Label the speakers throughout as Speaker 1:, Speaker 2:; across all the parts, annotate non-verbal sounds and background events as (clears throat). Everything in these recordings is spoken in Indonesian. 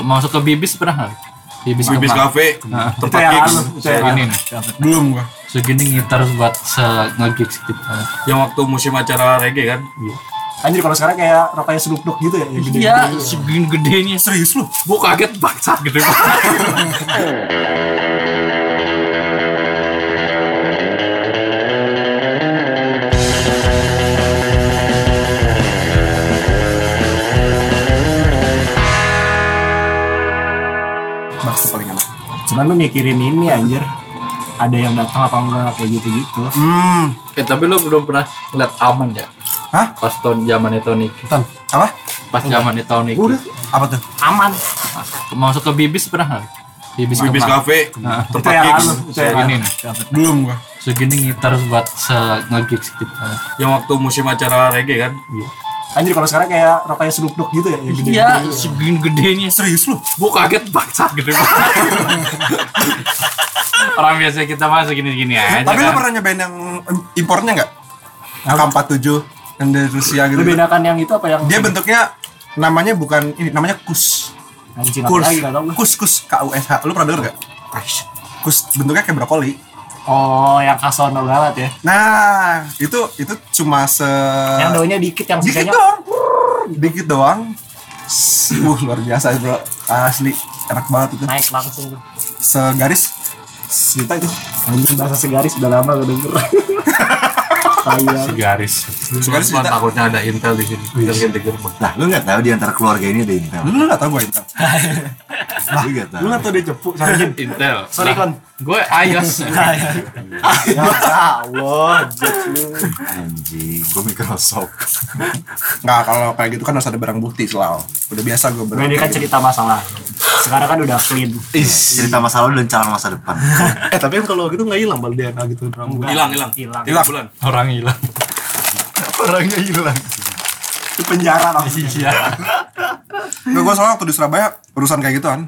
Speaker 1: masuk ke bibis pernah nggak bibis,
Speaker 2: Bibis
Speaker 1: kemang.
Speaker 2: Cafe,
Speaker 1: Nah.
Speaker 2: tempat
Speaker 3: Itu yang
Speaker 2: gigs.
Speaker 3: lalu, itu yang
Speaker 1: Ini
Speaker 3: lalu.
Speaker 1: nih,
Speaker 3: Belum gua.
Speaker 1: segini gitar buat se ngegigs gitu. kita.
Speaker 2: Yang waktu musim acara reggae kan.
Speaker 3: Anjir kalau sekarang kayak rokoknya Snoop Dogg gitu ya. yang gede-gede
Speaker 1: Iya,
Speaker 3: gitu.
Speaker 1: segini gedenya.
Speaker 2: Serius lu?
Speaker 1: Gue kaget Eh, bangsa (laughs) gede banget.
Speaker 2: Bakso paling enak.
Speaker 3: Cuman lu mikirin ini anjir. Ada yang datang apa enggak kayak gitu-gitu.
Speaker 4: Hmm,
Speaker 1: Eh, tapi lo belum pernah ngeliat aman ya?
Speaker 4: Hah?
Speaker 1: Pas tahun zamannya Tony.
Speaker 4: Ton, apa?
Speaker 1: Pas zamannya Tony.
Speaker 4: Udah, apa tuh?
Speaker 3: Aman.
Speaker 1: Masuk ke bibis pernah nggak? Bibis,
Speaker 2: Bibis
Speaker 1: kemang.
Speaker 2: Cafe,
Speaker 1: Nah.
Speaker 3: Itu
Speaker 2: tempat
Speaker 3: yang
Speaker 2: gigs.
Speaker 3: lalu,
Speaker 4: gitu.
Speaker 3: itu
Speaker 4: Iya.
Speaker 3: yang
Speaker 1: Ini
Speaker 3: lalu.
Speaker 1: nih,
Speaker 4: Belum gua.
Speaker 1: segini gitar buat se ngegigs gitu. kita.
Speaker 2: Yang waktu musim acara reggae kan.
Speaker 3: Anjir kalau sekarang kayak rokoknya Snoop Dogg gitu ya. yang gede-gede
Speaker 1: Iya,
Speaker 3: gitu.
Speaker 1: segini gedenya.
Speaker 4: Serius lu?
Speaker 1: Gue kaget bangsa gede banget. Orang biasa kita masuk gini-gini aja.
Speaker 4: Tapi lu
Speaker 1: kan?
Speaker 4: pernah nyobain yang impornya nggak? Yang K47 yang dari Rusia gitu.
Speaker 3: Lu bedakan yang itu apa yang
Speaker 4: Dia bentuknya namanya bukan ini, namanya kus.
Speaker 3: anjing apa
Speaker 4: Kurs.
Speaker 3: lagi gak tau gua.
Speaker 4: Kus kus K U S H. Lu pernah denger nggak? Kus bentuknya kayak brokoli.
Speaker 3: Oh, yang kasono banget ya.
Speaker 4: Nah, itu itu cuma se
Speaker 3: Yang daunnya dikit yang
Speaker 4: dikit
Speaker 3: sisanya
Speaker 4: doang. Dikit doang. Uh, luar biasa bro. Asli enak banget itu.
Speaker 3: naik langsung tuh.
Speaker 4: Segaris sejuta itu.
Speaker 3: Anjing bahasa segaris udah lama gak
Speaker 4: (laughs)
Speaker 3: denger. Sayang.
Speaker 1: garis. Iya.
Speaker 4: Segaris
Speaker 2: Cuman
Speaker 4: sejuta.
Speaker 2: takutnya ada intel di sini. Denger-denger.
Speaker 5: Nah, lu nggak tahu di antara keluarga ini ada ini tahu?
Speaker 4: Lu nggak tahu gue itu.
Speaker 5: Lu nggak tahu.
Speaker 3: Lu nggak tau dia cepu sakit. (laughs)
Speaker 1: Intel.
Speaker 3: Sorry, Kon.
Speaker 1: Gue
Speaker 2: (laughs)
Speaker 1: iOS.
Speaker 3: Ya Allah,
Speaker 5: Anjing, gua Microsoft.
Speaker 4: Nggak, kalau kayak gitu kan harus ada barang bukti selalu. Udah biasa gue
Speaker 3: Gue
Speaker 4: berarti.
Speaker 3: ini kan cerita masalah. Sekarang kan udah clean.
Speaker 5: Cerita masa lalu dan calon masa depan.
Speaker 6: eh tapi kan kalau gitu nggak hilang bal DNA gitu drum gua.
Speaker 2: Hilang, hilang.
Speaker 3: Hilang.
Speaker 4: Iya.
Speaker 2: Hilang bulan.
Speaker 1: Orang hilang.
Speaker 5: Orangnya hilang.
Speaker 3: Itu penjara langsung.
Speaker 1: Iya.
Speaker 4: Nggak, gue soalnya waktu di Surabaya urusan kayak gitu kan.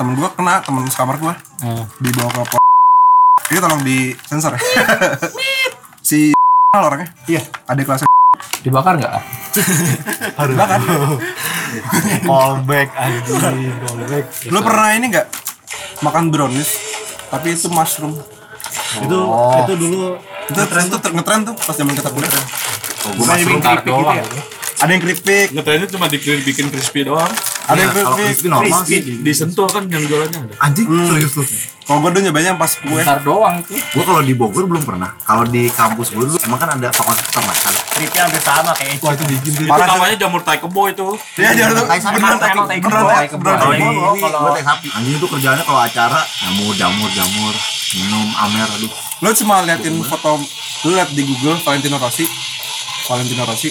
Speaker 4: Temen gue kena, temen sekamar gue dibawa ke pol. Ini tolong di sensor ya. si (laughs) orangnya. Iya. Ada kelasnya.
Speaker 1: Dibakar nggak?
Speaker 6: Callback anjing, callback.
Speaker 4: Lu pernah ini nggak makan brownies? Tapi itu mushroom. Oh.
Speaker 6: Itu itu dulu
Speaker 4: Itu tren tuh ter- ngetren tuh pas zaman kita kuliah.
Speaker 5: Oh, gua masih
Speaker 1: Bentar
Speaker 2: gitu ya?
Speaker 1: doang.
Speaker 4: Ada yang keripik,
Speaker 1: Iya,
Speaker 2: Ngetrennya cuma dikirim bikin crispy doang.
Speaker 4: ada yang
Speaker 5: Iya, kalau
Speaker 4: keripik.
Speaker 5: crispy normal sih.
Speaker 2: Di- Disentuh kan yang jualannya ada. Iya.
Speaker 5: Anjing, serius lu.
Speaker 4: Kalau gue dulu nyobainnya yang pas kue.
Speaker 1: Bentar doang itu.
Speaker 5: Gua kalau di Bogor belum pernah. Kalau di kampus gua dulu emang kan ada fakultas peternakan.
Speaker 3: Tripnya hampir sama kayak
Speaker 6: wah itu bikin tuh.
Speaker 2: Itu
Speaker 4: Parah sih.
Speaker 2: namanya jamur tai kebo itu.
Speaker 4: Iya, jangan tuh.
Speaker 5: Kayak sama
Speaker 4: Beneran
Speaker 5: kayak
Speaker 4: tak-
Speaker 3: kayak
Speaker 4: beneran
Speaker 3: kebo,
Speaker 4: tak-
Speaker 3: kayak kebo.
Speaker 4: beneran
Speaker 5: Kalau
Speaker 4: tak-
Speaker 5: ini,
Speaker 3: Kalau-
Speaker 5: ini gua teh sapi. Anjing itu kerjaannya kalau acara jamur, jamur, jamur, minum amer, aduh.
Speaker 4: Lu cuma liatin foto lu liat di Google Valentino Rossi. Valentino Rossi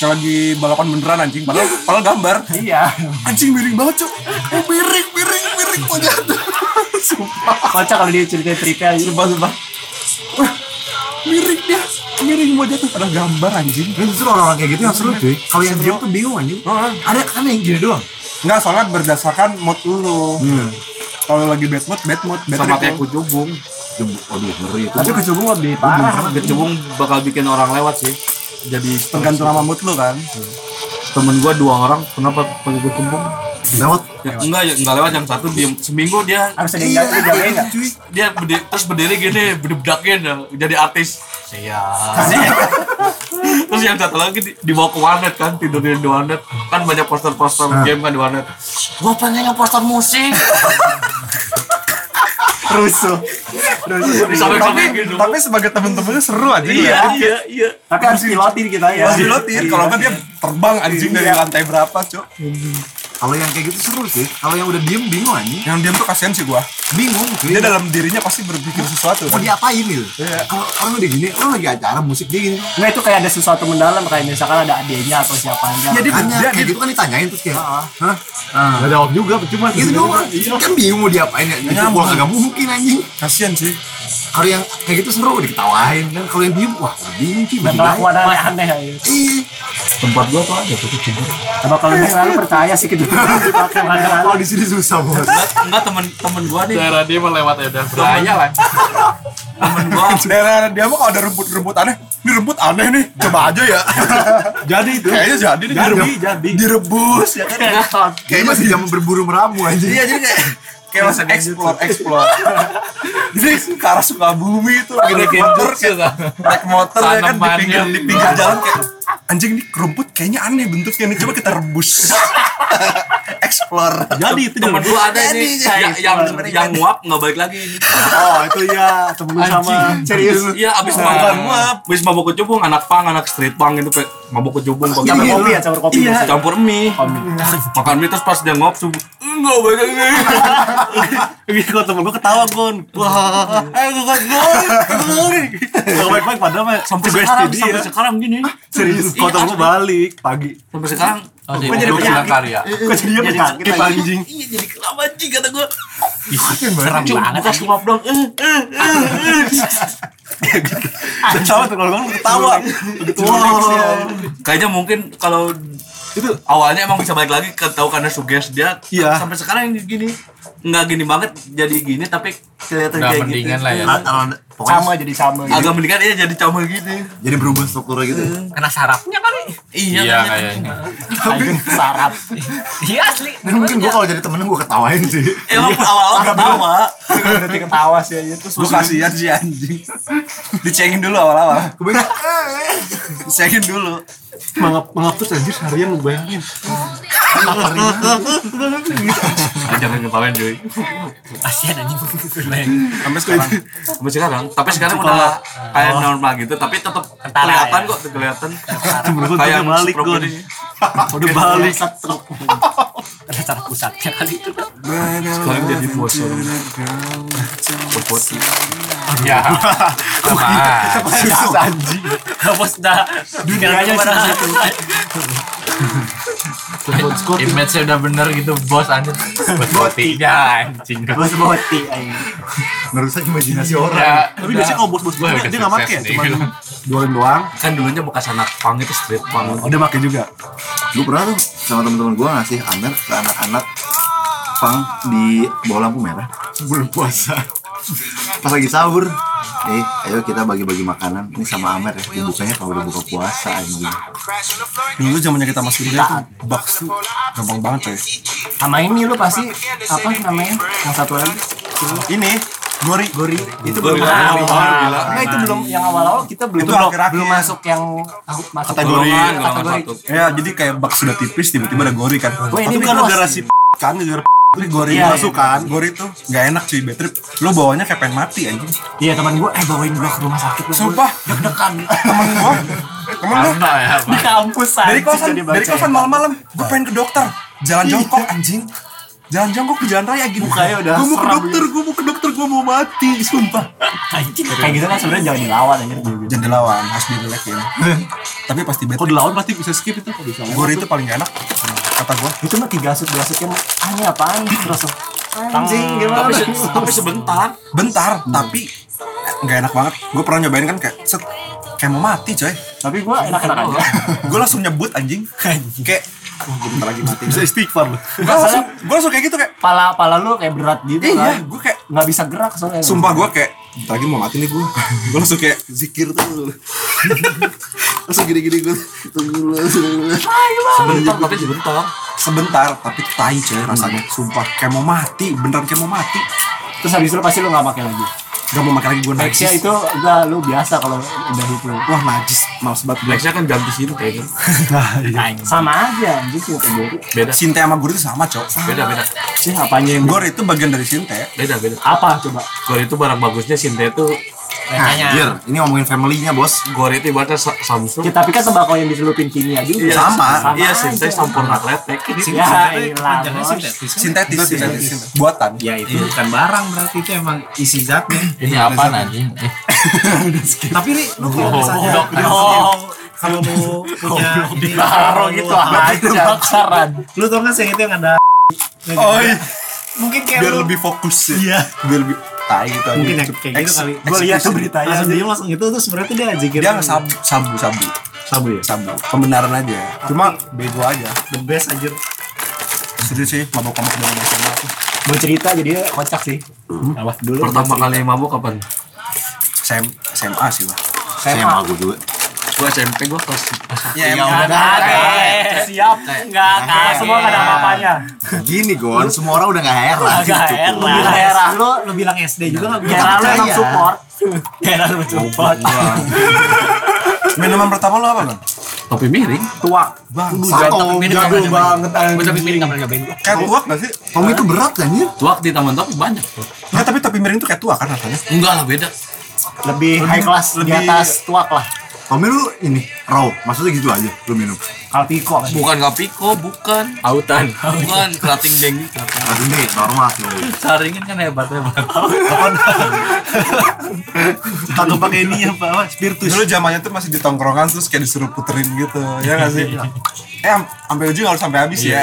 Speaker 4: kayak lagi balapan beneran anjing padahal padahal gambar
Speaker 3: Iya.
Speaker 4: anjing miring banget cuk oh, miring miring miring punya (laughs) sumpah
Speaker 3: Kocak kalau dia ceritain tripnya aja.
Speaker 4: sumpah sumpah Wah, miring dia miring mau jatuh padahal gambar anjing
Speaker 5: Ini justru orang-orang kayak gitu yang seru cuy. Kalau yang diem tuh bingung anjing. Ada kan yang gini doang.
Speaker 4: Enggak, soalnya berdasarkan mood lu. Kalau lagi bad mood, bad mood, bad
Speaker 2: Hmm. Sama
Speaker 4: trip
Speaker 2: kayak
Speaker 4: lu.
Speaker 2: kucubung.
Speaker 5: Aduh, aduh ngeri itu.
Speaker 3: Tapi kecubung lebih parah.
Speaker 2: Kucubung bakal bikin orang lewat sih. Jadi
Speaker 4: Tergantung sama mood lu kan.
Speaker 2: temen gua dua orang kenapa pakai kucubung?
Speaker 5: Lewat
Speaker 2: Ya, enggak, ya, enggak lewat yang satu diem seminggu dia
Speaker 3: Harus ada
Speaker 6: Iya.
Speaker 3: yang jatuh jagain nggak?
Speaker 2: dia berdiri, terus berdiri gini bededakin jadi artis
Speaker 4: (laughs)
Speaker 2: saya terus yang satu lagi di- dibawa ke warnet kan tidurin di warnet kan banyak poster-poster
Speaker 4: Nah.
Speaker 2: game kan di warnet gua pengen yang poster musik
Speaker 4: Rusuh.
Speaker 2: Sampai
Speaker 4: tapi,
Speaker 2: kayak gitu.
Speaker 4: tapi sebagai temen-temennya seru aja.
Speaker 2: iya iya
Speaker 3: Tapi harus pilotin kita ya.
Speaker 4: Masih lotir, kalau kan dia terbang anjing dari lantai berapa, Cuk.
Speaker 5: Kalau yang kayak gitu seru sih. Kalau yang udah diem bingung anjing.
Speaker 4: Yang diam tuh kasihan sih gua.
Speaker 5: Bingung cuy.
Speaker 4: Dia dalam dirinya pasti berpikir sesuatu.
Speaker 5: mau diapain gitu.
Speaker 4: Iya.
Speaker 5: Kalau orang udah gini, orang lagi acara musik dia gini.
Speaker 3: Nggak Nah, itu kayak ada sesuatu mendalam kayak misalkan ada adiknya atau siapanya.
Speaker 6: Iya,
Speaker 4: Jadi
Speaker 5: Tanya,
Speaker 4: dia
Speaker 5: kayak
Speaker 4: gitu.
Speaker 5: gitu kan ditanyain terus kayak, hah? Ah.
Speaker 6: Gak
Speaker 4: Iya,
Speaker 6: jawab juga, cuma
Speaker 5: Gitu doang. Kan bingung mau diapain ya. Gitu pulang agak mungkin anjing.
Speaker 4: Kasihan sih.
Speaker 5: kalau yang kayak gitu seru diketawain kan kalau yang diem wah dingki
Speaker 3: Dan Nah, kelakuan aneh-aneh aja.
Speaker 5: Ih, tempat gua tuh ada tuh kucing.
Speaker 3: Coba kalau ini selalu percaya sih gitu.
Speaker 4: Iya.
Speaker 5: Kalau di sini susah bos.
Speaker 2: Enggak temen-temen gua nih.
Speaker 1: Daerah dia mah lewat ya udah bahaya lah.
Speaker 2: Temen gua
Speaker 4: (laughs) Daerah dia mah kalau ada rumput-rumput aneh, ini rumput aneh nih, (laughs) coba aja ya.
Speaker 6: Jadi itu.
Speaker 4: Kayaknya jadi
Speaker 6: Jadi,
Speaker 4: nih direbus, kan?
Speaker 6: jadi.
Speaker 4: direbus ya kan.
Speaker 5: Kayaknya masih zaman berburu meramu aja.
Speaker 4: Iya jadi kayak kayak masih explore explore. jadi ke arah Sukabumi itu lagi naik motor kayak naik motor ya kan di pinggir di pinggir jalan kayak anjing nih rumput kayaknya aneh bentuknya nih coba kita rebus. (laughs) explore.
Speaker 6: Jadi itu
Speaker 2: temen gua ada
Speaker 4: Jadi,
Speaker 2: ini
Speaker 4: jadi.
Speaker 2: yang yang, yang nguap nggak balik lagi ini.
Speaker 6: Oh itu ya temen lu sama
Speaker 5: Serius.
Speaker 2: Iya abis mabok nguap, abis mabok kecubung anak pang, anak street pang gitu kayak mabok kecubung pakai
Speaker 3: Campur kopi ya, campur kopi.
Speaker 2: Iya. campur mie. Makan mie terus pas dia nguap subuh. Enggak balik lagi.
Speaker 6: Ini kalau Gitu, temen gue ketawa Gon Wah Eh gue gue Gak baik-baik padahal mah
Speaker 2: Sampai
Speaker 6: sugesti
Speaker 2: sekarang, iya.
Speaker 6: dia.
Speaker 2: sampai sekarang gini.
Speaker 6: Serius kalau temen gue balik pagi
Speaker 2: Sampai sekarang
Speaker 1: Oh,
Speaker 2: gua
Speaker 1: jadi punya karya.
Speaker 6: Gue jadinya penyakit anjing
Speaker 2: Iya jadi kelap anjing kata gue
Speaker 1: Serem banget. ya,
Speaker 2: Pas nguap dong eh, eh, eh, eh.
Speaker 6: Dan sama tuh kalau gue ketawa Wah
Speaker 2: Kayaknya mungkin kalau
Speaker 6: Itu
Speaker 2: awalnya emang bisa balik lagi ke tahu karena suges dia
Speaker 6: Iya.
Speaker 2: sampai sekarang yang gini nggak gini banget jadi gini tapi kelihatan
Speaker 1: Udah
Speaker 2: kayak gitu
Speaker 1: mendingan lah
Speaker 4: Iya.
Speaker 1: ya.
Speaker 5: Atau Nah, pokoknya
Speaker 3: Sama jadi sama. gitu.
Speaker 2: agak mendingan ya jadi camel gitu
Speaker 5: jadi berubah struktur
Speaker 4: Iya.
Speaker 5: gitu.
Speaker 7: Kena sarapnya
Speaker 1: kan?
Speaker 7: kali.
Speaker 2: iya,
Speaker 1: Iya
Speaker 2: kayaknya.
Speaker 1: kayaknya.
Speaker 3: Sarap.
Speaker 7: Iya asli.
Speaker 5: Dan Kan mungkin gua kalau jadi temennya gua ketawain sih.
Speaker 2: emang awal-awal ketawa
Speaker 3: Berarti ketawa sih aja terus.
Speaker 4: Gue
Speaker 2: Iya,
Speaker 4: kasihan sih anjing. Ya, Dicengin dulu awal-awal.
Speaker 5: Kemudian
Speaker 4: Dicengin dulu.
Speaker 6: mangap mangap terus anjir seharian lu bayangin
Speaker 2: jangan ketawain cuy
Speaker 7: Kasihan anjing.
Speaker 4: Sampai sekarang.
Speaker 2: sampai sekarang tapi sekarang udah kayak normal gitu tapi tetap kelihatan kok kelihatan
Speaker 6: Temen gue udah
Speaker 2: kayak
Speaker 6: balik
Speaker 2: stroke
Speaker 6: Gon
Speaker 2: ini.
Speaker 6: Udah balik
Speaker 7: Kena sarap pusatnya kali itu.
Speaker 2: sekarang jadi bos orang. bos bos
Speaker 1: Ya. Sama.
Speaker 6: Terus Iya. anjing
Speaker 7: Bos dah. Dunianya
Speaker 1: Image-nya udah bener gitu bos anjing. Bos botinya anjing.
Speaker 3: Bos boti aja.
Speaker 5: ngerusak imajinasi orang.
Speaker 1: Ya,
Speaker 6: Tapi biasanya kalau bos-bos gue
Speaker 1: Wah, udah
Speaker 6: dia gak make
Speaker 1: sukses nih.
Speaker 6: Cuman duain doang
Speaker 2: kan dulunya bekas anak pang itu street pang
Speaker 6: Udah make juga
Speaker 5: Gue pernah tuh sama temen-temen gue ngasih amer ke anak-anak pang di bawah lampu merah sebelum puasa. Pas lagi sahur, eh ayo kita bagi-bagi makanan. Ini sama amer ya. Dibukanya kalau udah buka puasa anjing.
Speaker 4: Dulu zamannya kita masih kuliah tuh bakso gampang banget coy.
Speaker 3: Sama ini lu pasti apa namanya? Yang satu lagi.
Speaker 4: Ini gori gori
Speaker 3: Itu belum awal. Nah, itu belum yang awal-awal kita belum
Speaker 4: Itu
Speaker 3: belum,
Speaker 4: akhir-akhir.
Speaker 3: belum masuk yang masuk
Speaker 4: Kategori.
Speaker 3: golongan,
Speaker 2: Golongan
Speaker 3: kategori.
Speaker 2: satu.
Speaker 4: Ya jadi kayak bakso udah tipis tiba-tiba ada gori kan.
Speaker 3: Wah,
Speaker 4: Tapi
Speaker 3: ini bukan
Speaker 4: kan gara
Speaker 3: negara
Speaker 4: si kan gara tapi gori
Speaker 3: Iya,
Speaker 4: masuk kan. Gori tuh nggak enak cuy bad trip. Lu bawanya kayak pengen mati anjing.
Speaker 3: Iya teman gue eh bawain gue ke rumah sakit lu.
Speaker 4: Sumpah
Speaker 3: deg-degan
Speaker 4: (laughs) temen gua temen gua
Speaker 1: Karena ya.
Speaker 3: di kampus
Speaker 4: dari
Speaker 3: anjing,
Speaker 4: kosan
Speaker 3: jadi
Speaker 4: dari
Speaker 3: baca. ya. Iya.
Speaker 4: kosan malam-malam gua pengen ke dokter jalan jongkok anjing jalan jongkok ke jalan raya gini
Speaker 3: Mukanya udah
Speaker 4: gua mau ke
Speaker 3: seram gitu.
Speaker 4: dokter gua mau ke dokter gua mau mati sumpah
Speaker 3: Anjing, kayak gitu kan sebenarnya jangan dilawan anjir gitu.
Speaker 4: jangan dilawan harus direlekin tapi pasti
Speaker 6: Kalau
Speaker 4: betul
Speaker 6: dilawan pasti bisa skip itu Kalau bisa
Speaker 4: gori itu paling gak enak kata gua
Speaker 3: Itu mah tiga asut dua asut kan ah ini apaan terus
Speaker 4: Ah.
Speaker 3: anjing gimana?
Speaker 2: tapi, se- tapi sebentar
Speaker 4: bentar tapi eh, nggak enak banget gua pernah nyobain kan kayak set kayak mau mati coy (laughs)
Speaker 3: Tapi gue enak-enak aja.
Speaker 4: gua langsung nyebut anjing kayak "Wah, gua bentar lagi mati
Speaker 6: Bisa istighfar lu
Speaker 4: gua langsung gua langsung kayak gitu kayak
Speaker 3: Pala pala lu kayak berat gitu
Speaker 4: iya
Speaker 3: kan.
Speaker 4: gua kayak
Speaker 3: Nggak bisa gerak soalnya.
Speaker 4: Sumpah gue kayak Bentar lagi mau mati nih gue Gue langsung kayak zikir tuh Langsung gini-gini gue Tunggu dulu tunggu dulu.
Speaker 2: sebentar tapi sebentar
Speaker 4: Sebentar Tapi tai coy rasanya Sumpah Kayak mau mati Beneran kayak mau mati
Speaker 3: Terus habis itu pasti lu nggak pakai lagi.
Speaker 4: Gak mau makan lagi gue najis
Speaker 3: Nextnya itu udah lu biasa kalau udah itu.
Speaker 4: Wah najis Males banget gue
Speaker 2: Blacknya kan ganti sini kayaknya
Speaker 3: Sama aja anjing sih kategori.
Speaker 2: beda
Speaker 4: Sinte sama gue itu sama cok
Speaker 2: beda beda
Speaker 3: Sih apanya yang
Speaker 4: Gor itu bagian dari sinte
Speaker 2: beda beda
Speaker 3: apa coba?
Speaker 2: Gor itu barang bagusnya Sinte itu
Speaker 3: Nah,
Speaker 5: Anjir, ini ngomongin family-nya bos.
Speaker 2: Gor itu ibaratnya Sa- Samsung
Speaker 3: Ya, tapi kan tembakau yang diselupin kimia juga.
Speaker 2: Iya,
Speaker 4: sama.
Speaker 2: Sinte- Iya
Speaker 3: Sama
Speaker 2: Sinte
Speaker 3: aja.
Speaker 2: sempurna kretek
Speaker 3: Ya, ilah, bos.
Speaker 4: Sintetis Sintetis Buatan
Speaker 7: Ya itu bukan barang berarti itu emang isi zatnya.
Speaker 6: Iya,
Speaker 1: Ini apa anjing? Eh,
Speaker 5: Tapi nih, lu kalau
Speaker 1: goblok.
Speaker 7: Kalau mau punya ini
Speaker 3: Taro gitu aja bakaran.
Speaker 7: Lu tau kan sih yang itu yang ada
Speaker 4: Oh iya
Speaker 7: mungkin kayak
Speaker 4: Biar
Speaker 7: lu
Speaker 4: lebih fokus sih Iya Biar lebih tai gitu aja.
Speaker 7: mungkin ya
Speaker 4: Cep-
Speaker 7: kayak gitu
Speaker 4: eks-
Speaker 7: kali
Speaker 3: Gua lihat tuh
Speaker 4: eksekusi.
Speaker 3: beritanya,
Speaker 7: langsung
Speaker 3: anjir.
Speaker 7: diem langsung itu terus berarti dia ajakin
Speaker 4: dia sabu sabu sabu
Speaker 7: sabu ya
Speaker 4: sabu pembenaran aja cuma bego aja
Speaker 7: the best anjir
Speaker 4: serius sih mabok mabok dengan SMA tuh
Speaker 3: Mau cerita jadi kocak sih.
Speaker 7: Hmm.
Speaker 3: Apa dulu?
Speaker 2: Pertama kali mabuk kapan?
Speaker 4: SM, SMA sih lah
Speaker 5: Saya mau aku juga.
Speaker 2: Gue SMP gue kelas
Speaker 7: Ah, iya,
Speaker 4: ya
Speaker 1: Nggak ada.
Speaker 6: Siap. Enggak, kagak. Semua enggak ada apa-apanya.
Speaker 5: Gini Gon, semua orang udah gak heran. gitu.
Speaker 6: Agak
Speaker 7: Gitu. lu
Speaker 6: heran.
Speaker 7: bilang
Speaker 6: Heran.
Speaker 7: SD, lu, lu bilang SD juga nggak bisa
Speaker 6: Heran lu emang
Speaker 5: Percaya.
Speaker 6: support. Heran lu support.
Speaker 4: minuman pertama lo apa bang
Speaker 2: Topi miring.
Speaker 3: Tua.
Speaker 4: bang
Speaker 5: Satu, jago banget
Speaker 1: Gue
Speaker 5: anjing.
Speaker 1: tapi miring nggak pernah nyobain gua.
Speaker 4: kayak tuak gak sih
Speaker 5: Tommy itu berat anjir.
Speaker 2: Tuak di taman topi banyak.
Speaker 4: Nggak, tapi tapi miring tuh kayak tua kan rasanya
Speaker 2: Enggak lah beda.
Speaker 7: lebih high class di
Speaker 4: lebih-
Speaker 7: atas tuak lah
Speaker 5: Tommy lu ini raw, maksudnya gitu aja lu minum.
Speaker 3: Kalpiko.
Speaker 2: Bukan kapiko, bukan.
Speaker 1: Autan.
Speaker 2: Bukan kerating dengki.
Speaker 5: Aduh nih Nah, normal sih.
Speaker 1: Saringin kan hebat hebat.
Speaker 7: atau pakai ini apa apa, spiritus
Speaker 4: dulu zamannya tuh masih di tongkrongan terus kayak disuruh puterin gitu ya gak sih
Speaker 7: Iya.
Speaker 4: eh am- sampai ujung harus sampai habis ya iya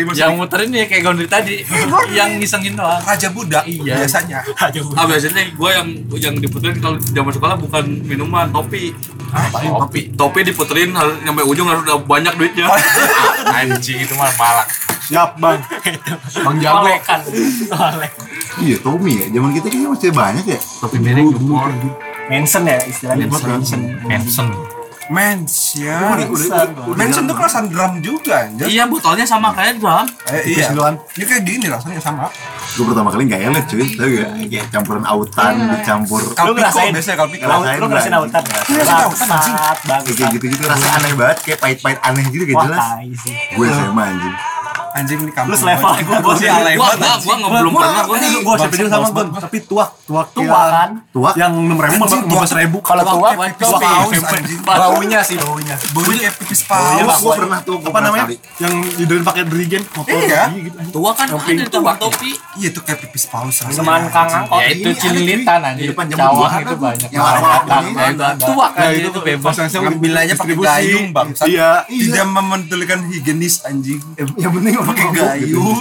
Speaker 4: iya,
Speaker 1: Yang
Speaker 4: maksudnya
Speaker 1: muterin ya kayak Gondri tadi. yang ngisengin doang.
Speaker 4: raja budak
Speaker 1: Iya.
Speaker 4: biasanya
Speaker 2: Ah biasanya gue yang yang diputerin kalau di zaman sekolah bukan minuman, topi. Topi. Topi diputerin harus sampai ujung harus udah banyak duitnya.
Speaker 1: Anjing itu mah palak.
Speaker 3: Siap bang.
Speaker 5: Bang jago.
Speaker 6: Solekan. Solek.
Speaker 5: Iya Tommy ya, zaman kita kayaknya masih banyak ya.
Speaker 1: Topi miring jempol.
Speaker 3: Mention ya istilahnya. Mention.
Speaker 1: Handsome.
Speaker 4: mens ya
Speaker 5: Udah- udah- udah- udah-
Speaker 4: mens itu kelasan drum juga anjir
Speaker 2: Iya botolnya sama kayak drum.
Speaker 4: Eh, iya ini kayak gini rasanya sama
Speaker 5: Gue pertama kali gak elit cuy, tau gak? Kayak campuran autan, dicampur
Speaker 4: kalau
Speaker 6: ngerasain?
Speaker 4: biasanya kalau piko
Speaker 5: Ngerasain,
Speaker 6: Lu ngerasain
Speaker 5: anjing.
Speaker 6: autan.
Speaker 4: Iya, sih, autan, anjing.
Speaker 6: Bangsat,
Speaker 5: Kayak
Speaker 6: bangsat.
Speaker 5: gitu-gitu rasanya aneh banget, kayak pahit-pahit aneh gitu kayak
Speaker 6: Wah,
Speaker 5: gitu, jelas
Speaker 6: tai sih.
Speaker 5: Gue SMA anjing
Speaker 4: anjing Iya, ini kampung
Speaker 6: Lu selevel
Speaker 4: banget.
Speaker 6: gue
Speaker 4: Gua sih alay
Speaker 2: Gua
Speaker 4: banget
Speaker 2: enggak, gua nggak belum pernah gua nih.
Speaker 6: Gue siapa juga sama gue. Tapi tuak. Tuak
Speaker 5: Tuak.
Speaker 6: kan.
Speaker 5: Tuak.
Speaker 6: Yang 6 ribu
Speaker 4: Anjing,
Speaker 6: sama 15 ribu.
Speaker 3: Kalau
Speaker 4: Bau
Speaker 3: tua
Speaker 4: kayak pipis paus anjing
Speaker 3: baunya sih baunya.
Speaker 4: baunya kayak pipis paus
Speaker 5: Gue pernah tuh, gue
Speaker 6: Apa
Speaker 5: pernah
Speaker 6: namanya?
Speaker 5: kali
Speaker 6: Yang didoain pakai dirigen. Motor.
Speaker 4: Iya.
Speaker 6: gitu.
Speaker 2: Tua kan ada di taman topi.
Speaker 4: iya tuh kayak pipis paus
Speaker 3: Teman
Speaker 4: rasanya
Speaker 3: Kang Angkot.
Speaker 1: Ya itu
Speaker 5: ini ada,
Speaker 1: cinlitan
Speaker 5: cuy. Di
Speaker 1: anjing.
Speaker 5: depan jamu
Speaker 1: Cawang
Speaker 5: buah
Speaker 1: itu
Speaker 5: apa?
Speaker 1: banyak.
Speaker 5: Yang warna-warna ini.
Speaker 1: Tuak
Speaker 6: Nah,
Speaker 1: kan itu bebas.
Speaker 4: Ngambilannya pakai gayung bang
Speaker 5: Iya, iya
Speaker 4: tidak mementulikan higienis anjing
Speaker 5: Yang penting gak pakai
Speaker 4: pakai
Speaker 5: gayu
Speaker 4: gayung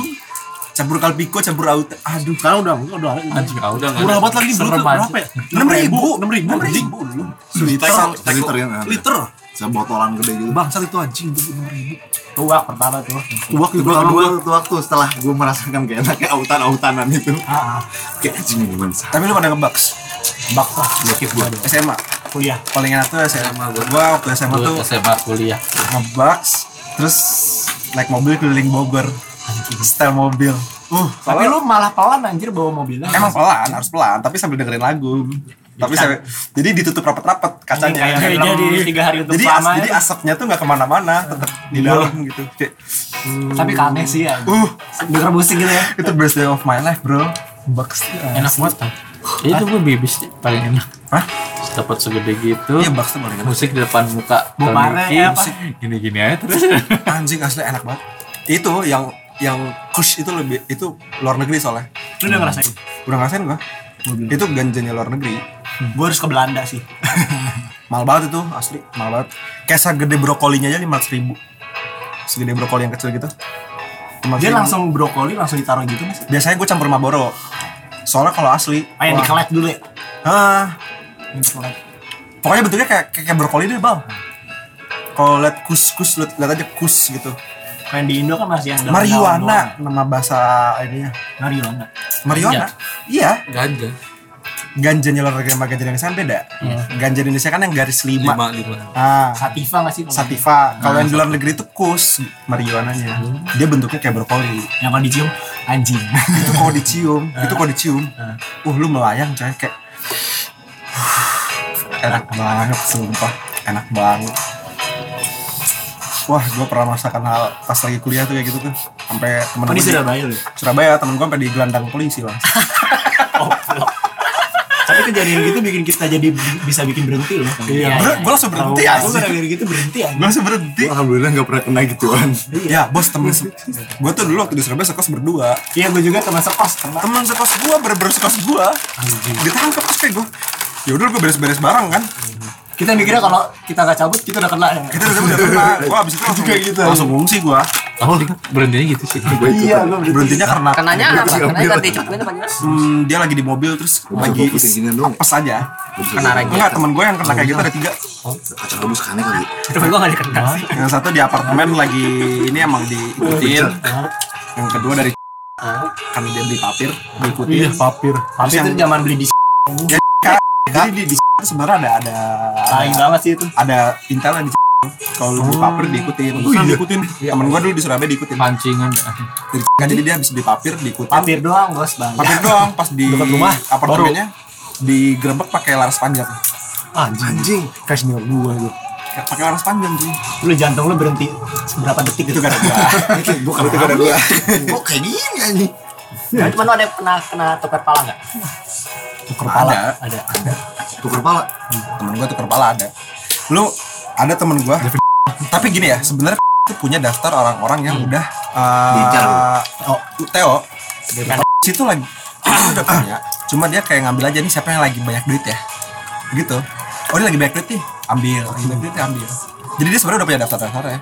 Speaker 4: campur kalpiko campur auta aduh
Speaker 6: Sekarang udah, udah, udah.
Speaker 1: Anjing ah, udah nggak
Speaker 6: Murah
Speaker 1: ada.
Speaker 6: banget lagi dulu
Speaker 1: Serem
Speaker 6: tuh berapa ya?
Speaker 4: enam ribu
Speaker 6: enam ribu,
Speaker 4: enam
Speaker 6: anjing.
Speaker 4: ribu dulu
Speaker 5: Liter, liter ya
Speaker 4: liter
Speaker 5: Sebotolan gede gitu
Speaker 4: bangsat itu anjing dulu enam ribu
Speaker 3: Tuak pertama tuh.
Speaker 5: Tuak itu pertama gue tuak tuh setelah gue merasakan kayak enaknya autan-autanan itu
Speaker 6: Ah,
Speaker 5: Kayak anjing minuman sakit
Speaker 4: tapi lu pada ngebaks
Speaker 3: Bak lah.
Speaker 5: Gokil gue
Speaker 4: SMA
Speaker 3: Kuliah.
Speaker 4: paling enak tuh SMA gua waktu SMA
Speaker 1: Gua
Speaker 4: tuh
Speaker 1: ke SMA kuliah.
Speaker 4: ngebaks terus naik mobil keliling Bogor style mobil uh
Speaker 3: Tapi lu malah pelan anjir bawa mobilnya.
Speaker 4: emang pelan harus pelan tapi sambil dengerin lagu tapi sambil, jadi ditutup rapat-rapat kacanya
Speaker 3: kayak film
Speaker 6: ya? Jadi,
Speaker 3: tiga hari untuk
Speaker 4: jadi, as-
Speaker 3: selama. Iya.
Speaker 4: jadi asapnya tuh nggak kemana-mana tetap di dalam gitu kayak
Speaker 3: Tapi aneh sih ya.
Speaker 4: uh
Speaker 3: Denger musik gitu ya.
Speaker 4: itu best day of my life bro bucks ya
Speaker 1: Enak banget. Pak. Ya, Itu gue bibis deh, paling enak.
Speaker 4: Hah?
Speaker 1: Dapat segede gitu.
Speaker 4: iya bucks tuh paling enak
Speaker 1: musik di depan muka
Speaker 3: Bung
Speaker 1: Tony
Speaker 3: Mare,
Speaker 1: Kim,
Speaker 3: ya, apa?
Speaker 1: gini-gini aja terus
Speaker 4: kan?
Speaker 6: (laughs)
Speaker 4: anjing asli enak banget itu yang yang kush itu lebih itu luar negeri soalnya
Speaker 6: Lu udah ngerasain?
Speaker 4: udah ngerasain gua itu ganjanya luar negeri
Speaker 3: Hmm.
Speaker 6: Gue harus ke Belanda sih.
Speaker 4: mahal banget itu asli mahal banget kayak segede brokolinya aja lima ratus ribu segede brokoli yang kecil gitu 500.000.
Speaker 6: Dia langsung brokoli langsung ditaruh gitu mas.
Speaker 4: biasanya gue campur Marlboro soalnya kalau asli
Speaker 3: Ah,
Speaker 6: Ayo
Speaker 4: kalau-
Speaker 6: dikelek dulu ya.
Speaker 4: ah
Speaker 6: Yang dikelek.
Speaker 4: pokoknya bentuknya kayak kayak, kayak brokoli deh bal kalau liat kus kus liat, liat aja kus gitu
Speaker 6: Main di Indo kan masih yang dalam
Speaker 4: marijuana nama bahasa ininya
Speaker 6: daun-daun. Marijuana.
Speaker 4: marijuana iya
Speaker 2: Ganja.
Speaker 4: ganjanya luar negeri sama ganja di Indonesia kan beda ganja di Indonesia kan yang garis lima,
Speaker 2: Lima lima.
Speaker 4: ah
Speaker 6: Sativa nggak sih? kalau-
Speaker 4: sativa kalau yang di luar negeri itu kus marijuananya dia bentuknya kayak brokoli
Speaker 6: Yang kalau dicium
Speaker 3: (laughs)
Speaker 6: anjing.
Speaker 4: itu kalau Gitu dicium itu kalau dicium uh lu melayang coy kayak enak banget sumpah enak banget wah gue pernah merasakan hal pas lagi kuliah tuh kayak gitu tuh sampai temen
Speaker 6: Oh, di
Speaker 4: gue di
Speaker 6: Surabaya lu.
Speaker 4: Surabaya temen gue sampai digelandang polisi lah
Speaker 6: Tapi kejadian gitu bikin kita jadi b- bisa bikin berhenti loh.
Speaker 3: Iya.
Speaker 6: Iya.
Speaker 4: Ber- gue langsung berhenti ya
Speaker 6: Aku gara-gara gitu berhenti aja.
Speaker 4: gue langsung berhenti
Speaker 5: Alhamdulillah gak pernah kena gituan
Speaker 4: ya bos temen gue tuh dulu waktu di Surabaya sekos berdua
Speaker 6: Iya, gue juga teman sekos. teman.
Speaker 4: temen sekos gue bener-bener sekos gue ditangkap terus kayak gue ya udah gue beres-beres barang kan
Speaker 6: Kita mikirnya kalau kita nggak cabut, kita udah kena ya.
Speaker 4: kita udah udah pernah gue abis itu langsung,
Speaker 6: Juga gitu.
Speaker 4: langsung ngungsi gue
Speaker 1: Oh, berhentinya gitu sih.
Speaker 5: Gue ikut.
Speaker 4: Iya, berhentinya karena
Speaker 8: Kenanya apa?
Speaker 4: dia lagi di
Speaker 8: Kenanya
Speaker 4: mobil.
Speaker 8: ganti coklatnya apa gimana?
Speaker 4: Hmm, dia lagi di mobil terus
Speaker 5: Bisa
Speaker 4: lagi
Speaker 5: fokusin ginian dong.
Speaker 4: apes aja.
Speaker 8: Kena lagi.
Speaker 4: Enggak, temen gue yang kena kayak gitu ada tiga.
Speaker 5: Kacang rebus kannya kali.
Speaker 8: Tapi gue gak dikenal sih.
Speaker 4: Yang satu di apartemen lagi ini emang diikutin. Yang kedua dari karena dia beli papir diikutin.
Speaker 3: Iya, papir.
Speaker 4: Terus yang
Speaker 7: zaman beli di
Speaker 4: jadi di, di itu sebenarnya ada ada
Speaker 7: tai banget sih itu.
Speaker 4: ada intel yang di kalau lu beli papir diikutin. Oh, diikutin. Temen gue dulu di Surabaya diikutin.
Speaker 1: Pancingan.
Speaker 4: Jadi, jadi dia habis beli papir diikutin.
Speaker 7: Papir doang, Bos, Bang.
Speaker 4: Papir doang pas di
Speaker 7: Ya. Dekat rumah,
Speaker 4: apartemennya digerebek pakai laras panjang. Ya,
Speaker 5: Anjing.
Speaker 7: Crash meal gua lu.
Speaker 4: Pakai laras panjang sih.
Speaker 7: Lu jantung lu berhenti seberapa detik
Speaker 4: Itu
Speaker 7: gitu
Speaker 4: gara
Speaker 5: (laughs)
Speaker 4: gua.
Speaker 5: Gue kan ada gue. Kok kayak gini anjing.
Speaker 7: Ya.
Speaker 8: Nah, Cuman lu ada yang pernah kena tukar pala gak?
Speaker 4: Ada.
Speaker 8: Ada.
Speaker 5: Tuker pala.
Speaker 4: temen gue tuker kepala ada lu ada temen gue tapi gini ya sebenarnya itu punya daftar orang-orang
Speaker 7: Hmm.
Speaker 4: yang udah uh,
Speaker 5: Diincar lu. kan-
Speaker 4: oh, Teo situ lagi (clears throat) itu udah punya cuma dia kayak ngambil aja nih siapa yang lagi banyak duit ya gitu oh dia lagi banyak duit nih ambil lagi banyak duit nih ambil jadi dia sebenarnya udah punya daftar daftar ya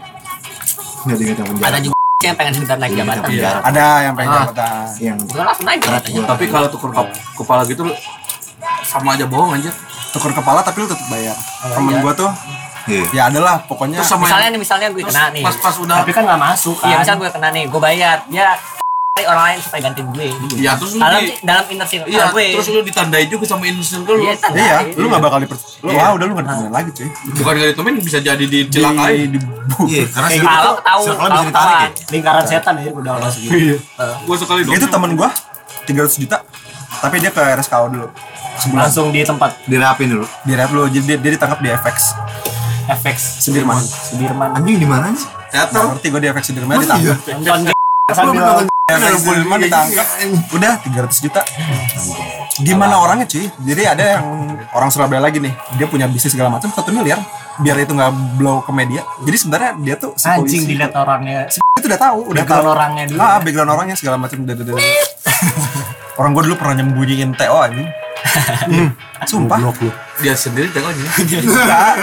Speaker 5: Nggak ada yang penjara.
Speaker 8: Ada juga (laughs) yang pengen sebentar
Speaker 7: Iya,
Speaker 8: naik
Speaker 5: Yang
Speaker 8: jabatan.
Speaker 5: penjara.
Speaker 4: ada yang pengen
Speaker 5: Ah.
Speaker 4: jabatan
Speaker 5: Yang Iya.
Speaker 8: Gue langsung naik jabatannya.
Speaker 2: Tapi kalau tuker kep- kepala gitu sama aja bohong anjir.
Speaker 4: tuker kepala tapi lu tetap bayar
Speaker 5: Oh,
Speaker 4: temen
Speaker 8: iya.
Speaker 4: gue tuh
Speaker 5: Iya.
Speaker 4: ya adalah pokoknya
Speaker 2: Terus sama
Speaker 8: Misalnya nih, Kan misalnya gue kena nih.
Speaker 2: pas-pas udah
Speaker 7: Tapi kan enggak masuk
Speaker 8: Iya,
Speaker 7: kan.
Speaker 8: misal gue kena nih, gue bayar. Dia cari (laughs) orang lain supaya gantiin gue.
Speaker 2: Iya, terus lu
Speaker 8: Dalam
Speaker 2: di-
Speaker 8: dalam inner circle Ah,
Speaker 2: Iya,
Speaker 8: gue.
Speaker 2: terus lu ditandai juga sama insul lu.
Speaker 8: Iya, tanda.
Speaker 4: iya lu gak bakal diper Iya. lu wah udah lu gak ditemuin lagi cuy
Speaker 2: Bukan gak ditemuin bisa jadi dicelakai.
Speaker 4: di, di
Speaker 5: Iya, karena
Speaker 7: Kayak
Speaker 5: sih.
Speaker 7: gitu
Speaker 8: Kalau
Speaker 7: tuh,
Speaker 8: tahu,
Speaker 5: circle-nya
Speaker 8: kalau
Speaker 5: bisa ditarik ya?
Speaker 8: ketahuan.
Speaker 7: lingkaran setan ya udah masuk gitu.
Speaker 2: Gua sekali dong.
Speaker 4: itu temen gua 300 juta tapi dia ke RSKO dulu sebulan
Speaker 7: Langsung di tempat
Speaker 5: Dirapin dulu.
Speaker 4: di rap dulu jadi dia, dia ditangkap di FX
Speaker 7: FX
Speaker 4: Sudirman
Speaker 7: Sudirman.
Speaker 5: Anjing di mana sih?
Speaker 4: nggak
Speaker 2: teater.
Speaker 4: ngerti gua di FX Sudirman
Speaker 5: Masih ya?
Speaker 4: ditangkap
Speaker 7: Nonton
Speaker 5: Lu
Speaker 7: sambil
Speaker 5: nonton
Speaker 4: FX Sudirman ditangkap udah 300 juta gimana orangnya cuy jadi ada yang orang Surabaya lagi nih dia punya bisnis segala macam satu miliar biar itu nggak blow ke media jadi sebenarnya dia tuh si
Speaker 7: anjing
Speaker 4: polisi.
Speaker 7: dilihat orangnya.
Speaker 4: itu udah tahu udah
Speaker 7: Background
Speaker 4: tahu
Speaker 7: orangnya dulu. ya.
Speaker 4: ah background orangnya segala macam udah udah udah. (laughs) orang gua dulu pernah nyembunyiin TO
Speaker 7: (laughs)
Speaker 4: anjing Hmm, sumpah
Speaker 2: Dia kan sendiri tengoknya.
Speaker 4: (laughs) Enggak.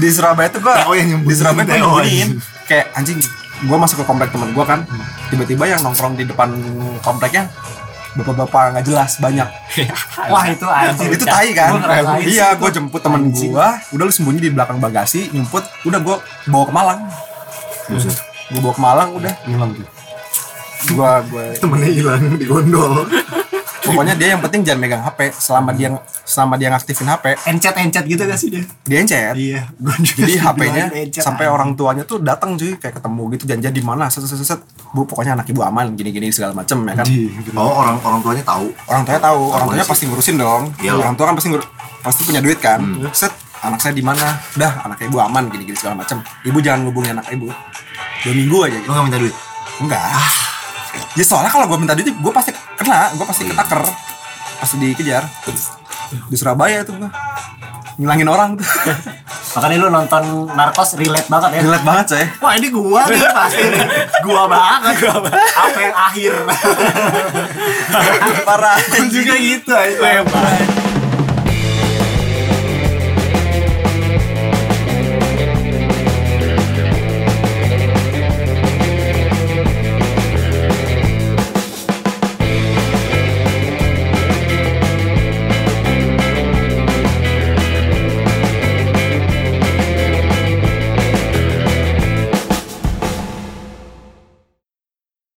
Speaker 4: di Surabaya tuh gua
Speaker 5: Oh, yang nyembunyiin.
Speaker 4: di Surabaya tuh
Speaker 5: Oh,
Speaker 4: nyembunyiin kayak anjing gua masuk ke komplek temen gua kan
Speaker 7: Hmm.
Speaker 4: tiba-tiba yang nongkrong di depan kompleknya bapak-bapak nggak jelas banyak
Speaker 7: Wah, itu anjing. Iya.
Speaker 4: itu tai
Speaker 7: Oh, Gua
Speaker 4: kan
Speaker 7: ngerasain sih
Speaker 4: iya
Speaker 7: itu.
Speaker 4: gua jemput temen gua udah lu sembunyi di belakang bagasi nyumput udah gua bawa ke Malang gua bawa ke Malang udah hilang tuh gua gua
Speaker 5: Temennya hilang di gondol.
Speaker 4: pokoknya dia yang penting jangan megang HP selama dia selama dia ngaktifin HP
Speaker 7: encet-encet gitu gak sih dia?
Speaker 4: dia encet
Speaker 7: Iya, gua juga
Speaker 4: jadi
Speaker 7: bilang
Speaker 4: HP-nya
Speaker 7: encet,
Speaker 4: sampai
Speaker 7: anjing.
Speaker 4: orang tuanya tuh datang cuy kayak ketemu gitu janjian di mana set set set, set bu pokoknya anak ibu aman gini gini segala macem ya kan
Speaker 5: Oh orang orang tuanya tahu.
Speaker 4: orang tuanya tahu orang tuanya
Speaker 5: sih.
Speaker 4: pasti ngurusin dong
Speaker 5: Iya.
Speaker 4: orang tua kan pasti ngur- pasti punya duit kan
Speaker 7: Hmm.
Speaker 4: set anak saya di mana dah anak ibu aman gini gini segala macem ibu jangan ngubungin anak ibu dua minggu aja
Speaker 5: Lu
Speaker 4: gitu
Speaker 5: nggak minta duit?
Speaker 4: enggak ya soalnya kalau gue minta duit gue pasti kena gue pasti ketaker pasti dikejar di Surabaya tuh gue ngilangin orang tuh
Speaker 7: Makanya lu nonton Narcos relate banget ya.
Speaker 4: relate banget saya
Speaker 7: Wah, ini gua nih pasti. nih. (laughs) gua banget. Apa yang akhir?
Speaker 4: parah
Speaker 7: juga gitu aja.